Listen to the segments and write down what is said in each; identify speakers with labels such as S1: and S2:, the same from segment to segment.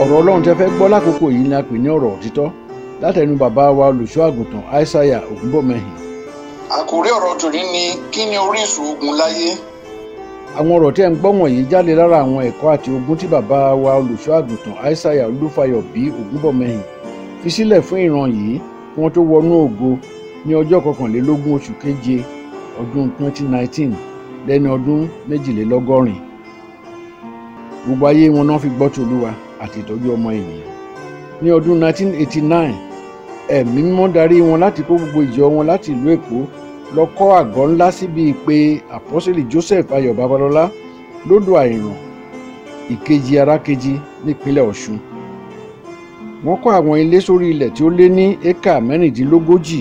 S1: ọ̀rọ̀ ọlọ́run tẹ́ fẹ́ gbọ́ lákòókò yìí ni a pè ní ọ̀rọ̀ òtítọ́ látẹnu bàbá wa olùṣọ́ àgùntàn aishaiya ògúnbọ̀mẹ́hìn.
S2: àkòrí ọ̀rọ̀ tòní ni kí ni orísun ogun láyé
S1: àwọn ọ̀rọ̀ tẹ́ ń gbọ́ wọ̀nyí jáde lára àwọn ẹ̀kọ́ àti ogun tí bàbá wa olùṣọ́ àgùntàn aishaiya olúfayọ bí ògúnbọ̀mẹ́hìn fi sílẹ̀ fún ìran yìí kí wọ́n tó wọnú ògo ní ọjọ́ kọkànlélógún oṣù keje ọdún 2019 lẹ́ni ọdún méjìlélọ́gọ́rin gbogbo ayé wọn náà fi gbọ́ tolúwa àti ìtọ́jú ọmọ ènìyàn ní ọdún 1989 ẹ̀mí mímọ́ darí wọn láti kó gbogbo ìjọ wọn láti ìlú èkó lọ kọ́ àgọ́ ńlá síbi ìpè àpọ́sẹ̀lì joseph ayọ̀ babalọ́lá lódò àìràn ìkejì arákejì nípínlẹ̀ ọ̀ṣun wọ́n kọ́ àwọn ilé sórí ilẹ̀ tí ó lé ní éka mẹ́rìndínlógójì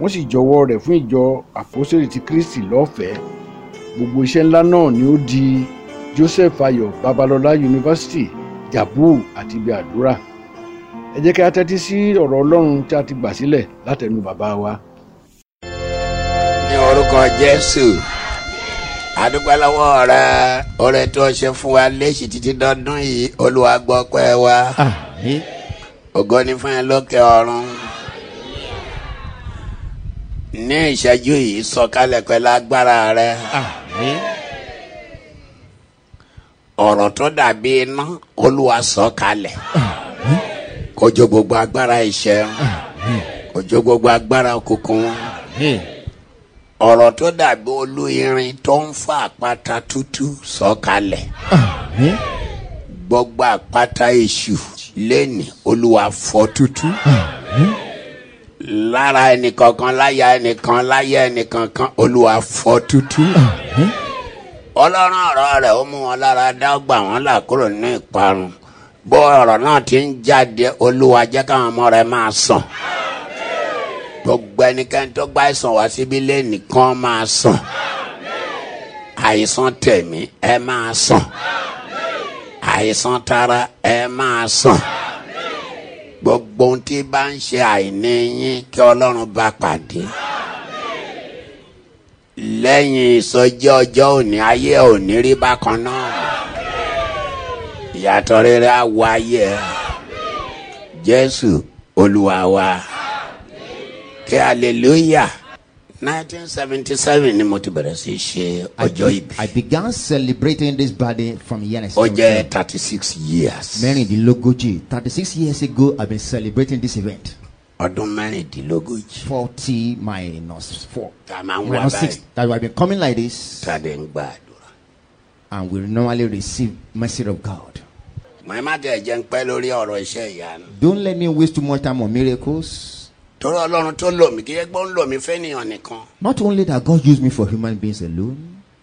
S1: wọ́n sì jọwọ́ rẹ̀ fún ìjọ àpọ́sẹ̀lì ti kristi lọ́fẹ̀ẹ́ gbogbo iṣẹ́ ńlá náà ni ó di joseph ayọ̀ babalọ́lá yunifásitì jabu àti ibi àdúrà ẹ jẹ́ kí a tẹ́tí sí ọ̀rọ̀ ọlọ́run tí a ti gbà sílẹ̀ látẹnu bàbá wa.
S3: ní orúkọ jésù adúpẹ́lọ́wọ́ rẹ oore tó ṣe fún wa léṣe títí dọ́dún yìí olúwa gbọ́ pẹ́ wa ògo ni fún ẹ lókè ọ̀run ní ìṣẹ́jú yìí sọ̀kalẹ̀ pẹ̀lú agbára rẹ ọ̀rọ̀ tó dàbí iná olúwa sọ̀kalẹ̀ kọjọ gbogbo agbára ìṣẹ́ kọjọ gbogbo agbára òkùnkùn ọ̀rọ̀ tó dàbí olú irin tó ń fa àpáta tútù sọ̀kalẹ̀ gbogbo àpáta èṣù lẹ́nì olúwa fọ́ tútù lára ẹnìkankan láyà ẹnìkan láyà ẹnìkankan olúwa fọ́ tútù ọlọ́run ọ̀rọ̀ rẹ̀ ó mú wọn lára dá ó gbà wọ́n là kúrò ní ìparun bó ọ̀rọ̀ náà ti ń jáde olúwa jẹ́ káwọn ọmọ rẹ̀ máa sàn gbogbo ẹnikẹ́ni tó gba àìsàn wá síbi ilé nìkan máa sàn àìsàn tẹ̀mí ẹ máa sàn àìsàn tara ẹ máa sàn gbogbo ohun tí bá ń ṣe àìní yín kí ọlọ́run bá pàdé lẹ́yìn ìsọjí ọjọ́ òní ayé òní rí bákan náà ìyàtọ̀ rere á wọ ayé ẹ jésù olúwa wa kí hallelujah nineteen seventy seven ni mo ti bẹ̀rẹ̀ sí ṣe
S4: I,
S3: ọjọ́
S4: be-
S3: ìbí
S4: I began celebrating this birthday from Yenis.
S3: ó jẹ́ thirty six years
S4: Mẹ́rìndínlógójì. 36 years ago, I've been celebrating this event.
S3: ọdún mẹ́rìndínlógójì
S4: 40 minus 4.
S3: tá a máa ń wá
S4: Around
S3: báyìí
S4: 6. That I've been coming like this,
S3: tá a dẹ̀ ń gba àdúrà.
S4: and we normally receive mercy of God.
S3: mo ẹ má tẹ̀ jẹ́ ń pẹ́ lórí ọ̀rọ̀ iṣẹ́ ìyanu
S4: Don't let me waste too much time on miracles.
S3: torí ọlọ́run tó lò mí kí ẹ gbọ́n lò mí fẹ́nìyàn nìkan
S4: Not only that God used me for human beings alone,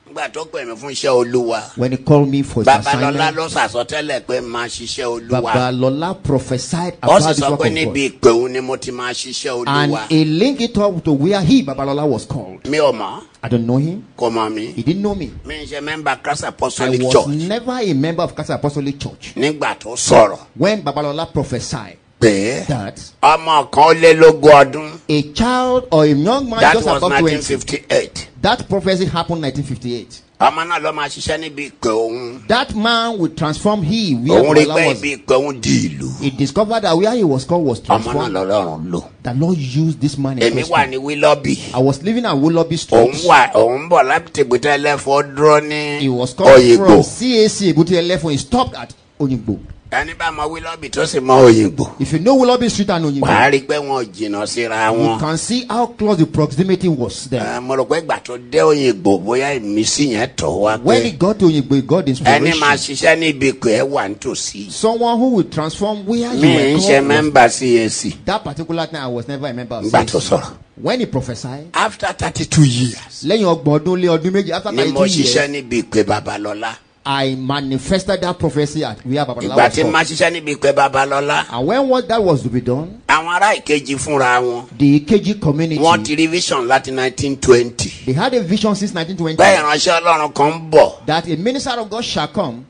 S3: nígbà tó pè mí fún iṣẹ́ olúwa
S4: when He called me for His
S3: babalọ́lá
S4: assignment,
S3: ló sàsọtẹ́lẹ̀ pé máa ṣiṣẹ́ olúwa
S4: Babalola prophesied
S3: ó
S4: about
S3: sì
S4: this
S3: sọ
S4: work
S3: pé
S4: of God.
S3: níbi ìpè òun ni mo ti máa ṣiṣẹ́ olúwa
S4: And he linked it up to where he, Babalola, was called.
S3: mi ò mọ̀
S4: I don't know him.
S3: kò mọ̀ mí
S4: He didn't know me.
S3: mi ń ṣe mẹ́mbà christ
S4: I
S3: apostolic
S4: was
S3: church
S4: never a member of Castle Apostolic Church.
S3: nígbà tó sọ̀rọ̀
S4: When Babalola prophesied
S3: pé
S4: that
S3: ọmọ kan ó lé lógún ọdún
S4: a child or a young man
S3: that
S4: just
S3: was
S4: above 20,
S3: nineteen fifty eight
S4: that prophecy happened 1958.
S3: ọmọ náà ló máa ṣiṣẹ́ níbi ìpè òun
S4: That man would transform he where
S3: òun rí pé
S4: Babalola
S3: ibi
S4: was.
S3: ìpè òun di ìlú
S4: He discovered that where he was called was
S3: ọmọ náà
S4: transformed.
S3: lọ́lọ́run lò
S4: The Lord used this man in
S3: èmi wà
S4: question.
S3: ní wílọ́bì.
S4: I was living at Willoughby
S3: òun
S4: Street.
S3: wà òun bọ̀ láti gbẹ̀tẹ̀ ẹlẹ́fọ́ dúró ní
S4: He was coming
S3: òyìnbó
S4: from CAC Ebute Left when he stopped at Onigbo.
S3: ẹni bá mọ wílọ́bì tó sì mọ òyìnbó
S4: If you know Willoughby Street and Onigbo,
S3: wàá rí i pé wọn ò jìnnà síra
S4: you
S3: wọn.
S4: can see how close the proximity was there.
S3: Eh, mo rò pé ìgbà tó dé òyìnbó bóyá ìmísí yẹn tọ̀ wá
S4: When he
S3: pé
S4: got to Onigbo, he got
S3: ẹni máa
S4: inspiration.
S3: ṣiṣẹ́ níbi pé ẹ wà nítòsí.
S4: Someone who will transform where
S3: mi
S4: you
S3: ì ń
S4: were
S3: ṣe
S4: called was-
S3: mẹ́mbà cac
S4: That particular time, I was never a member of
S3: nígbà tó
S4: CAC.
S3: sọ̀rọ̀.
S4: When he prophesied,
S3: after thirty two years
S4: lẹ́yìn ọgbọ̀n ọdún lé ọdún méjì after
S3: ni
S4: thirty
S3: mo
S4: two
S3: ṣiṣẹ́
S4: years,
S3: níbi pé babalọ́lá.
S4: I manifested that prophecy at where Babalola
S3: ìgbà
S4: was
S3: tí
S4: called.
S3: ma ṣiṣẹ́ níbi pé babalọ́lá
S4: And when what that was to be done,
S3: àwọn ará ìkejì fúnra wọn
S4: the KG community,
S3: wọn ti rí vision láti nineteen twenty.
S4: they had a vision since 1920
S3: bẹ́ẹ̀ ìránṣẹ́ ọlọ́run kan ń bọ̀
S4: that a minister of God shall come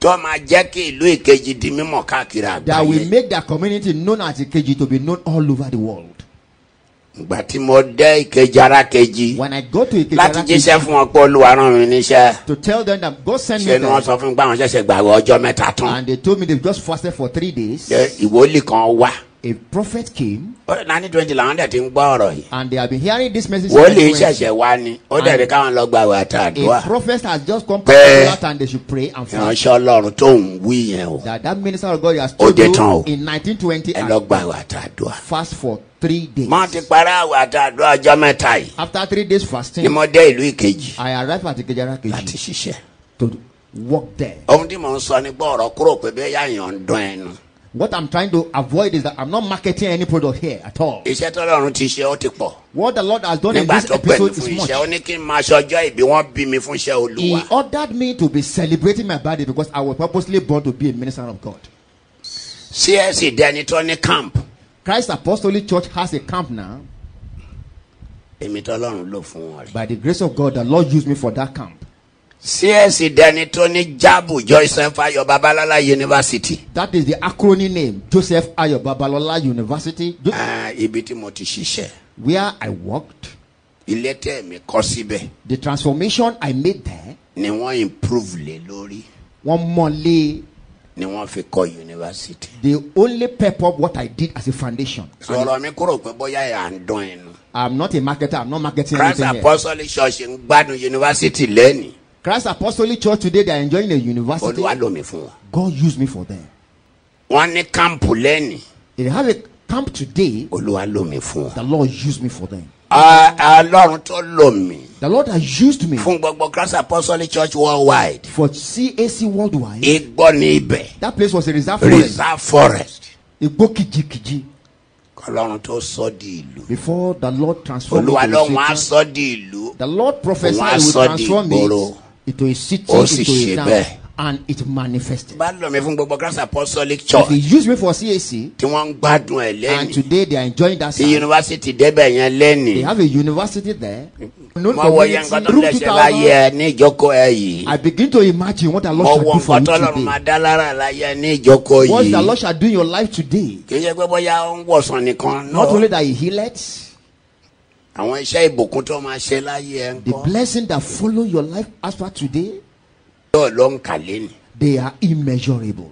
S3: tó máa jẹ́ kí ìlú ìkejì di mímọ̀ káàkiri
S4: that will
S3: àgbáyé.
S4: make their community known as a KG to be known all over the world.
S3: ìgbà tí mo dé ìkejì ara kejì
S4: When I go to
S3: láti
S4: Ikejara
S3: jíṣẹ́ fún wọn pé olúwa rán mi níṣẹ́
S4: to tell them that God sent
S3: ṣe
S4: me
S3: ni wọ́n
S4: there,
S3: sọ fún mi pé àwọn ṣẹ̀ṣẹ̀ gbàgbọ́ ọjọ́ mẹ́ta tán
S4: and they told me they've just fasted for three days.
S3: ṣe ìwọ́lì kan wá
S4: A prophet came,
S3: ó lè náà ní twenty làwọn dẹ̀ ti ń gbọ́ ọ̀rọ̀ yìí
S4: and they have been hearing this message. since
S3: wọ́lì
S4: Wednesday.
S3: ṣẹ̀ṣẹ̀ wá ni ó dẹ̀ ní káwọn lọ gbàgbọ́ àtàdúrà
S4: A prophet has just come
S3: Pray.
S4: to out and they should pray and fast.
S3: ìránṣẹ́ ọlọ́run tó ń wí yẹn o
S4: That that minister of God has
S3: Ó
S4: told
S3: dé
S4: you
S3: tán o.
S4: in 1920
S3: ẹ
S4: and
S3: lọ gbàgbọ́ àtàdúrà
S4: fast for three days.
S3: mo ti parí àwọ̀ àtàdúrà ọjọ́ mẹ́ta yìí
S4: After three days
S3: ni
S4: fasting,
S3: mo dé ìlú ìkejì
S4: I arrived at Ikejara
S3: láti
S4: Keji
S3: ṣiṣẹ́
S4: to work there.
S3: ohun tí mò ń sọ ni pé ọ̀rọ̀ kúrò pé bẹ́ẹ̀ yà yàn ń dán ẹnu
S4: What I'm trying to avoid is that I'm not marketing any product here at all.
S3: iṣẹ́ tọ́lọ́run ti ṣe ó ti pọ̀
S4: What the Lord has done in
S3: Eh. nígbà
S4: this
S3: tó pè mí
S4: episode
S3: fún
S4: is much.
S3: iṣẹ́ ó ní kí n máa ṣọjọ́ ìbí wọ́n bí mi fún iṣẹ́
S4: He
S3: olúwa
S4: ordered me to be celebrating my birthday because I was purposely born to be a minister of God.
S3: csc dẹni tó ní camp
S4: Christ Apostolic Church has a camp now.
S3: èmi tọ́lọ́run lò fún wọn rí
S4: By the grace of God, the Lord used me for that camp.
S3: csc dẹni tó ní jábù joyce fayo babalọla university
S4: That is the acronym name Joseph Ayo Babalola University, Jo-
S3: Ah, ibi tí mo ti ṣiṣẹ́
S4: where I worked.
S3: ilé tẹ̀ mí kọ́ síbẹ̀
S4: The transformation I made there,
S3: ni wọ́n improve lé lórí
S4: one monthly,
S3: ni wọ́n fi kọ́ university.
S4: they only pep up what I did as a foundation.
S3: sọ̀rọ̀ mi kúrò pé bóyá à ń dán ẹnu.
S4: I'm not a marketer, I'm not marketing
S3: christ
S4: anything. Here.
S3: apostolic church ń gbádùn university lẹ́nìí
S4: Christ Apostolic Church today, they are enjoying a university.
S3: olúwa lómi fún wọn.
S4: God used me for them.
S3: wọ́n ní kámpù lẹ́nìí
S4: They have a camp today,
S3: olúwa lómi fún wọn.
S4: the Lord used me for them.
S3: Ah, ọlọ́run tó lò mí
S4: The Lord has used me
S3: fún gbogbo christ apostolic church worldwide
S4: for CAC worldwide.
S3: igbó ní ibẹ̀
S4: that place was a reserve forest.
S3: reserve forest
S4: Igbokijikiji.
S3: kọlọ́run tó sọ di ìlú
S4: Before the Lord transformed me
S3: olúwa
S4: into a
S3: lọ́run á
S4: Satan,
S3: sọ di ìlú
S4: The Lord prophesied
S3: Wọ́n á
S4: he
S3: sọ
S4: would
S3: di
S4: transform it
S3: ìgboro.
S4: into a city,
S3: Ó sì
S4: into
S3: ṣe
S4: a
S3: bẹ́ẹ̀.
S4: town, and it manifested.
S3: bá lò mí fún gbogbo christ apostolic
S4: If he
S3: church
S4: used me for CAC,
S3: tí wọ́n ń gbádùn ẹ̀
S4: and
S3: lẹ́nìí
S4: today they are enjoying that
S3: tí
S4: site.
S3: yunifásitì débẹ̀ yẹn
S4: They
S3: lẹ́nìí.
S4: have a university there. Known
S3: mo wọ yẹn nǹkan tó
S4: room
S3: lẹsẹ
S4: 2000.
S3: láyé ẹ ní ìjókòó ẹ yìí
S4: I begin to imagine what the
S3: mo
S4: Lord
S3: wọ
S4: shall
S3: nǹkan
S4: do
S3: tó
S4: for you
S3: lọrùn máa
S4: today.
S3: dá lára láyé ẹ ní ìjókòó
S4: What the
S3: yìí
S4: Lord shall do in your life today.
S3: kì í ṣe pé bóyá ó ń wọ̀sán nìkan
S4: Not only
S3: náà
S4: that he healed,
S3: àwọn iṣẹ́ ìbùkún tó máa ṣe láyé ẹ
S4: The
S3: ńkọ́
S4: blessing that follow your life as far today,
S3: yóò ló ń kà lẹ́nu
S4: they are immeasurable.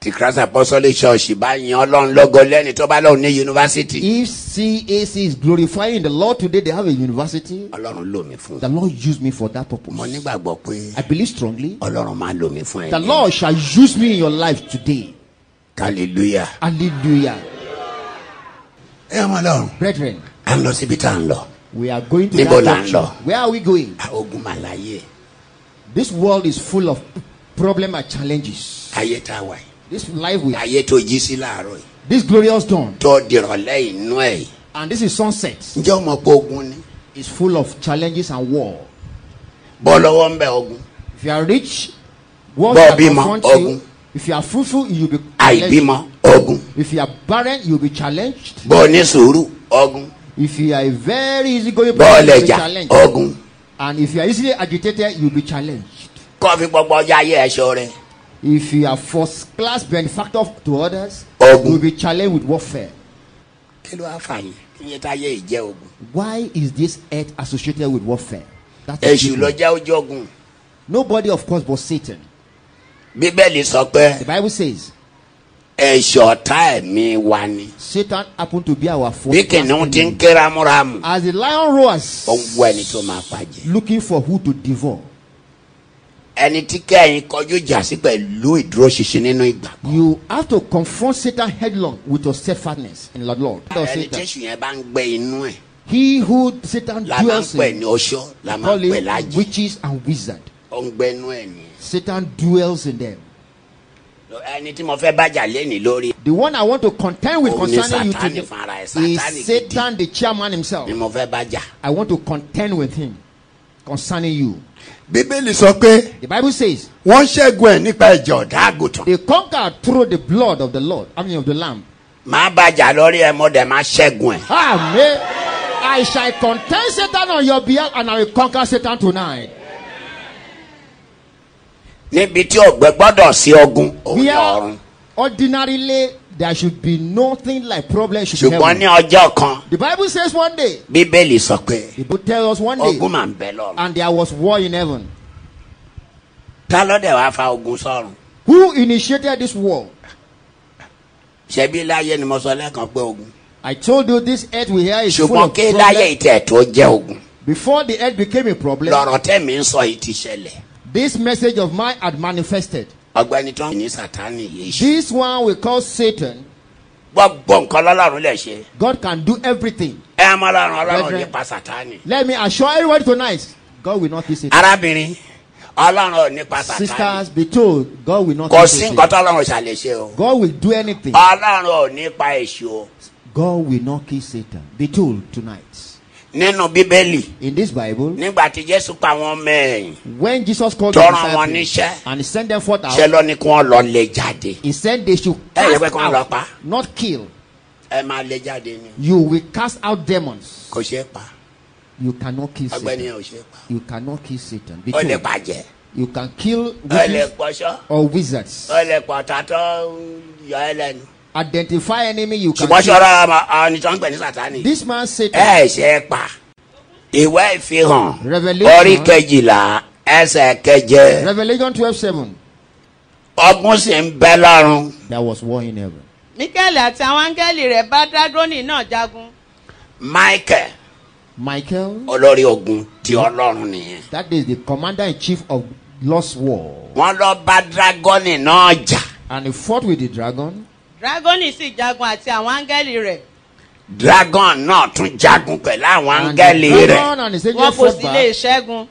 S3: tí christ apostolic church bá yan ọlọ́run lọ́gọ lẹ́ni tó bá lọ́run ní yunifásitì
S4: If CAC is glorifying the Lord today, they have a university.
S3: ọlọ́run lò mí fún
S4: The Lord used me for that purpose.
S3: mo nígbàgbọ́ pé
S4: I believe strongly.
S3: ọlọ́run máa lò mí fún ẹ
S4: The Lord shall use me in your life today.
S3: hallelujah
S4: Hallelujah.
S3: ẹ ọmọ ọlọ́run
S4: Brethren,
S3: à ń lọ síbi tá à ń lọ
S4: we are going to
S3: Níbo là ń
S4: that country.
S3: lọ?
S4: Where are we going?
S3: ogun màláyé
S4: This world is full of problem and challenges.
S3: ayé tá a wà yìí
S4: This life we
S3: ayé tó jí sí láàárọ̀ yìí.
S4: this glorious dawn
S3: tó dìrọ̀lẹ́ inú ẹ̀.
S4: and this is sunset
S3: ǹjẹ́ o mọ̀ pé ogun ni.
S4: is full of challenges and war.
S3: bọ́ lọ́wọ́ ń bẹ ogun.
S4: If you are rich, what
S3: Bọ́ọ̀
S4: shall
S3: bímọ,
S4: confront
S3: ogun.
S4: you? If you are fruitful, you will be challenged.
S3: àìbímọ ogun.
S4: If you are barren, you will be challenged.
S3: bọ́ọ̀ ní sùúrù ogun.
S4: If you are a very easy going
S3: bọ́ọ̀
S4: person, you will be
S3: lẹ̀jà
S4: challenged.
S3: ogun.
S4: And if you are easily agitated, you will be challenged.
S3: kọ́ fi gbogbo ọjọ́ ayé ẹ̀ṣọ́ rẹ.
S4: If you are first class benefactor to others,
S3: Ogun.
S4: you will be challenged with warfare.
S3: kí ló wá fààyè kí ni táyé ìjẹ́ ogun.
S4: Why is this earth associated with warfare? That's the
S3: èṣù
S4: people.
S3: ló jẹ́ ojú ogun.
S4: Nobody, of course, but Satan.
S3: bíbélì sọ pé
S4: The Bible says
S3: ẹ̀ṣọ́ ọ̀tá ẹ̀mí wa ni.
S4: Satan happened to be our first.
S3: bí
S4: class
S3: kìnìún ti ń
S4: enemy.
S3: ké ramúramù.
S4: As the lion roars,
S3: ó ń wọ ẹni tó máa pàjẹ́.
S4: looking for who to devour.
S3: ẹni tí kẹ́yìn kọjú jà sí pẹ̀lú ìdúróṣinṣin nínú ìgbà.
S4: You have to confront Satan headlong with your steadfastness in the Lord.
S3: ẹni tí
S4: Satan.
S3: èṣù yẹn bá ń gbé inú ẹ̀.
S4: He who Satan
S3: la máa ń
S4: dwells
S3: pè
S4: in,
S3: ní ọṣọ la máa
S4: call
S3: ń pè
S4: him
S3: lájì
S4: witches and wizard.
S3: ó ń gbẹnu ẹ ní.
S4: Satan dwells in them.
S3: ẹni tí mo fẹ́ bájà lẹ́nìí lórí
S4: The one I want to contend with
S3: Òun ni
S4: concerning
S3: Sátánì
S4: you
S3: fúnra ẹ̀,
S4: today
S3: Sátánì
S4: is Satan, the chairman himself.
S3: ni mo fẹ́ bájà.
S4: I want to contend with him concerning you.
S3: bíbélì sọ pé
S4: The Bible says
S3: wọ́n ṣẹ́gun ẹ̀ nípa ẹ̀jẹ̀ ọ̀dà àgùntàn.
S4: they conquer through the blood of the Lord, I mean of the Lamb.
S3: máa bájà lórí ẹ mo dẹ̀ máa ṣẹ́gun ẹ̀.
S4: Amen. I shall contend Satan on your behalf and I will conquer Satan tonight.
S3: níbi tí ògbẹ́ gbọ́dọ̀ sí ogun òun ni
S4: Where
S3: ọ̀run.
S4: ordinarily There should be nothing like problem should be
S3: ṣùgbọ́n ní
S4: heaven.
S3: ọjọ́ kan
S4: The Bible says one day,
S3: bíbélì sọ pé
S4: the book tells us one
S3: ogun
S4: day,
S3: máa ń bẹ lọ́run
S4: and there was war in heaven.
S3: ta lọ́dẹ̀ wàá fa ogun sọ́run
S4: Who initiated this war?
S3: ṣebí láyé ni mo sọ lẹ́ẹ̀kan pé ogun
S4: I told you this earth we hear is full
S3: ṣùgbọ́n
S4: of
S3: ké láyé
S4: problem.
S3: ìtẹ̀ tó jẹ́ ogun
S4: Before the earth became a problem,
S3: lọ́rọ̀ tẹ̀mí ń sọ yìí ti ṣẹlẹ̀
S4: this message of mine had manifested.
S3: ọgbẹ́ni tó ń ní sátánì yìí ṣe
S4: This one we call Satan.
S3: gbogbo nǹkan lọ́lọ́run lè ṣe
S4: God can do everything.
S3: ẹ á mọ ọlọ́run ọlọ́run
S4: Brethren.
S3: nípa sátánì
S4: Let me assure everybody tonight, God will not be
S3: Ah,
S4: Satan.
S3: arábìnrin ọlọ́run nípa sátánì
S4: Sisters, be told, God will not
S3: kò
S4: be
S3: sí
S4: Satan.
S3: nǹkan tọ́lọ́run ṣàlẹ̀ ṣe o
S4: God will do anything.
S3: Ah. ọlọ́run nípa èṣù o
S4: God will not kill Satan. Be told tonight.
S3: nínú bíbélì
S4: In this Bible,
S3: nígbà tí jésù pa àwọn ọmọ ẹ̀yìn
S4: when Jesus called the
S3: Tọrọ wọn
S4: disciples
S3: níṣẹ́.
S4: and he sent them forth
S3: ṣe
S4: out,
S3: lọ ni kí wọ́n lọ lé jáde
S4: he said they should
S3: Ẹ yẹ
S4: cast
S3: pé kí wọ́n lọ pa.
S4: out, not kill.
S3: ẹ máa lé jáde ni
S4: You will cast out demons.
S3: kò ṣeé pa
S4: You cannot kill
S3: ọgbẹ́ni
S4: Satan.
S3: yẹn ò ṣeé pa
S4: You cannot kill Satan. Be
S3: ó lè
S4: told.
S3: bàjẹ́
S4: You can kill
S3: ó lè
S4: witches
S3: pọṣọ
S4: or wizards.
S3: ó lè pọ̀tà tó ń yọ ẹ lẹ́nu
S4: Identify enemy you can
S3: ṣùgbọ́n
S4: kill.
S3: ṣọ́ra àwọn nìtọ́ ń pè ní sátánì
S4: This man Satan.
S3: ẹ ṣe é pa ìwé ìfihàn
S4: Revelation.
S3: orí kejìlá ẹsẹ̀ keje
S4: Revelation 12 7.
S3: ọgbọ́n sì ń bẹ lọ́run
S4: There was war in heaven.
S5: Míkẹ́lì àti àwọn áńgẹ́lì rẹ̀ bá dágónì náà jagun.
S3: michael
S4: Michael,
S3: olórí ogun ti ọlọ́run nìyẹn
S4: that is the commander in chief of Lost War,
S3: wọ́n lọ bá dragoni náà jà
S4: and he fought with the dragon.
S5: Dragoni sì jagun àti àwọn áńgẹ́lì rẹ̀.
S3: dragon náà tún jagun pẹ̀lú àwọn
S4: And
S3: áńgẹ́lì
S4: the
S3: rẹ̀
S4: dragon and his angel
S5: Wọn kò
S4: fought
S5: sì lè
S4: back.
S5: ṣẹ́gun.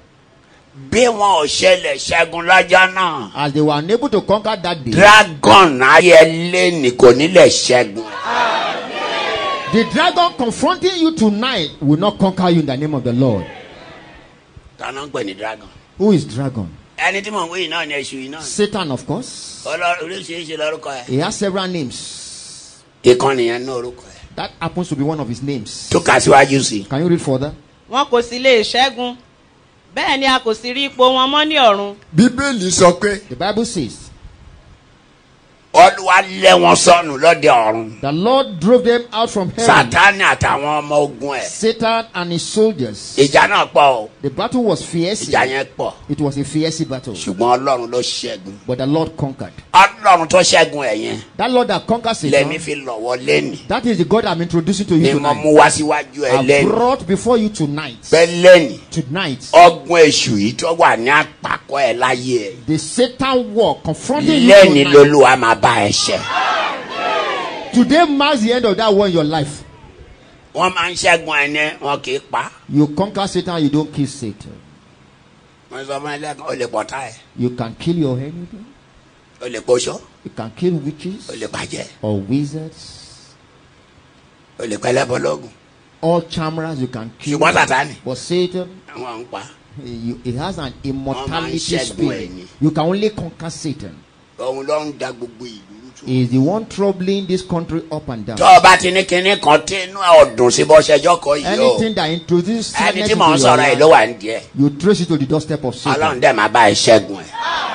S3: bí wọn ò ṣe lè ṣẹ́gun lọ́jọ́ náà
S4: As they were unable to conquer that day,
S3: dragon ayé lẹ́nì kò ní lè ṣẹ́gun
S4: the dragon confronting you tonight will not conquer you in the name of the Lord.
S3: tọ́nà ń pè ní dragon
S4: Who is dragon?
S3: ẹni tí mò ń wí yìí náà ni èṣù yìí náà ni.
S4: Satan, of course.
S3: Ọlọ́run- oríṣiríṣi lórúkọ ẹ
S4: He has several names.
S3: ìkànnì yẹn ní orúkọ ẹ
S4: That happens to be one of his names.
S3: tó kà síwájú sí i.
S4: Can you read further?
S5: Wọn kò sì lè ṣẹ́gun. Bẹ́ẹ̀ ni a kò sì rí ipò wọn mọ́ ní ọ̀run.
S6: bíbélì sọ pé
S4: The Bible says
S3: olúwa lé wọn sọnù lọ́dẹ ọ̀run
S4: the Lord drove them out from
S3: Hmm.
S4: heaven.
S3: sátánì àtàwọn ọmọ ogun ẹ
S4: Satan and his soldiers.
S3: ìjà náà pọ̀ o
S4: The battle was fierce.
S3: ìjà yẹn pọ̀
S4: It was a fierce battle,
S3: ṣùgbọ́n ọlọ́run ló ṣẹ́gun
S4: but the Lord conquered.
S3: ọlọ́run tó ṣẹ́gun ẹ̀ yẹn
S4: That Lord that conquers
S3: lẹ́mí
S4: Satan,
S3: fi lọ́wọ́ lẹ́nì
S4: that is the God I'm introducing to
S3: ni
S4: you
S3: mo mú
S4: tonight.
S3: wá síwájú ẹ
S4: I
S3: lẹ́nì
S4: brought before you tonight,
S3: pẹ́ lẹ́nì
S4: tonight,
S3: ọgbọ́n èṣù yìí tó wà ní àpàkọ́ ẹ láyé ẹ
S4: the Satan war confronting
S3: lẹ́nì
S4: you tonight.
S3: lolúwa máa bá ẹ ṣẹ.
S4: Today marks the end of that war in your life.
S3: wọ́n máa ń ṣẹ́gun ẹ ní wọn kì í pa
S4: You conquer Satan, you don't kill Satan.
S3: wọ́n sọ fún ẹ lẹ́kan ó lè pọ̀tá ẹ
S4: You can kill your enemy.
S3: ó lè pọṣọ́
S4: You can kill
S3: ó
S4: witches
S3: lè bàjẹ́
S4: or wizards.
S3: ó lè pẹlẹ́bọ lọ́gùn
S4: All charmers you can kill.
S3: ṣùgbọ́n sátánì
S4: But Satan,
S3: wọ́n ń pa
S4: you, he has an
S3: man
S4: immortality
S3: said
S4: spirit.
S3: when-
S4: You can only conquer Satan.
S3: òun ló ń da gbogbo ìlú rú.
S4: is the one troubling this country up and down.
S3: tó o bá ti ní kinní kan tí inú ẹ ọ̀dùn sí bọ́ ṣẹjọ́ kọ yìí o
S4: Anything that introduces
S3: ẹni
S4: sadness
S3: tí mò ń
S4: into your
S3: sọ̀rọ̀ ẹ ló
S4: life,
S3: wà ń díẹ̀
S4: you trace it to the doorstep of
S3: ọlọ́run
S4: Satan.
S3: dẹ̀ máa bá ẹ ṣẹ́gun ẹ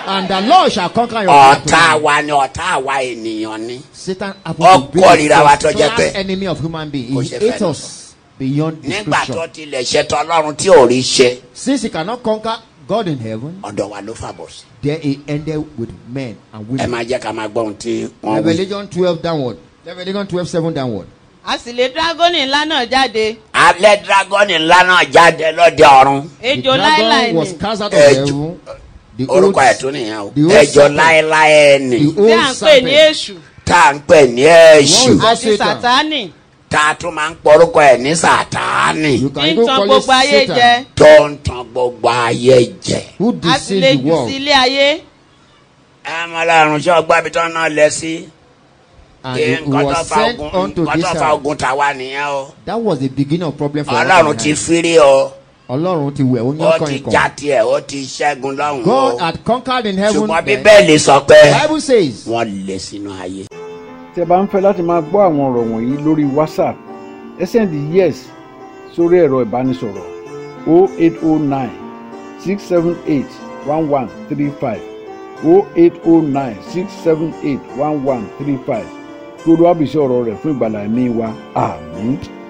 S4: And the Lord shall conquer your
S3: ọ̀tá
S4: battle.
S3: wa ni ọ̀tá wa ènìyàn ni
S4: Satan
S3: Ọ
S4: happens to be
S3: kórìíra wa tó
S4: the
S3: jẹ́
S4: first
S3: pé
S4: enemy of human being.
S3: kò
S4: He
S3: ṣe
S4: hates
S3: fẹ́
S4: us beyond
S3: nígbà tó
S4: description.
S3: tilẹ̀ ṣe tọ́lọ́run tí ò rí ṣe
S4: Since he cannot conquer God in heaven,
S3: ọ̀dọ̀ wa ló fàbọ̀ sí.
S4: there he ended with men and
S3: ẹ
S4: women.
S3: máa jẹ́ ká máa gbọ́ ohun tí wọ́n wí.
S4: Revelation 12 downward. Revelation 12 7 downward.
S5: A sì lé dragoni ńlá náà jáde.
S3: alẹ́ dragoni ńlá náà jáde lọ́dẹ ọ̀run
S4: The
S5: Ejò láíláí
S4: dragon
S5: ni.
S4: was cast out of
S3: Ejò.
S4: heaven. The
S3: orúkọ ẹ̀
S4: old,
S3: tún nìyẹn o
S4: the old
S3: ẹjọ́
S4: serpent.
S3: láéláé ẹni
S4: the
S5: Tí à
S4: old
S5: ń pè
S4: serpent.
S5: ní èṣù
S3: tá à ń pè ní èṣù
S4: Wọ́n-
S5: àti
S4: Satan.
S5: sàtánì.
S3: tá a tún máa ń pọrúkọ ẹ̀ ní sàtáánì
S4: You
S5: Tí
S4: can
S5: ń
S4: even
S5: tan
S4: call it
S5: gbogbo ayé jẹ.
S4: Satan.
S3: tó ń tan gbogbo ayé jẹ.
S4: Who
S5: A sì lè
S4: deceived the
S5: jù sí
S4: world?
S5: ilé ayé.
S3: ẹ mọ lọ́run ṣé ọgbà ibi tó náà lẹ sí
S4: And
S3: kí
S4: it
S3: nǹkan tó
S4: was
S3: fa
S4: sent
S3: ogun
S4: unto
S3: nǹkan
S4: this
S3: tó fa
S4: earth.
S3: ogun tàwa nìyẹn o
S4: That was the beginning of problem for
S3: ọlọ́run ti
S4: mankind.
S3: fírí o
S4: Ọlọ́run ti wẹ̀
S3: ó
S4: ó yán
S3: ti
S4: kan
S3: já
S4: ikọ̀.
S3: tiẹ̀ ó ti ṣẹ́gun lọ́hùn
S4: God
S3: o
S4: had conquered in heaven.
S3: ṣùgbọ́n
S4: then.
S3: bíbélì sọ pé
S4: The Bible says,
S3: wọ́n lè sínú ayé.
S1: tí ẹ bá ń fẹ́ láti máa gbọ́ àwọn ọ̀rọ̀ wọ̀nyí lórí whatsapp ẹ sẹ́ndì yes sórí ẹ̀rọ ìbánisọ̀rọ̀ 0809 678 oh 1135 0809 678 1135 kí olúwa bùsí ọ̀rọ̀ rẹ̀ fún ìgbàlà ẹ̀mí wa àmín.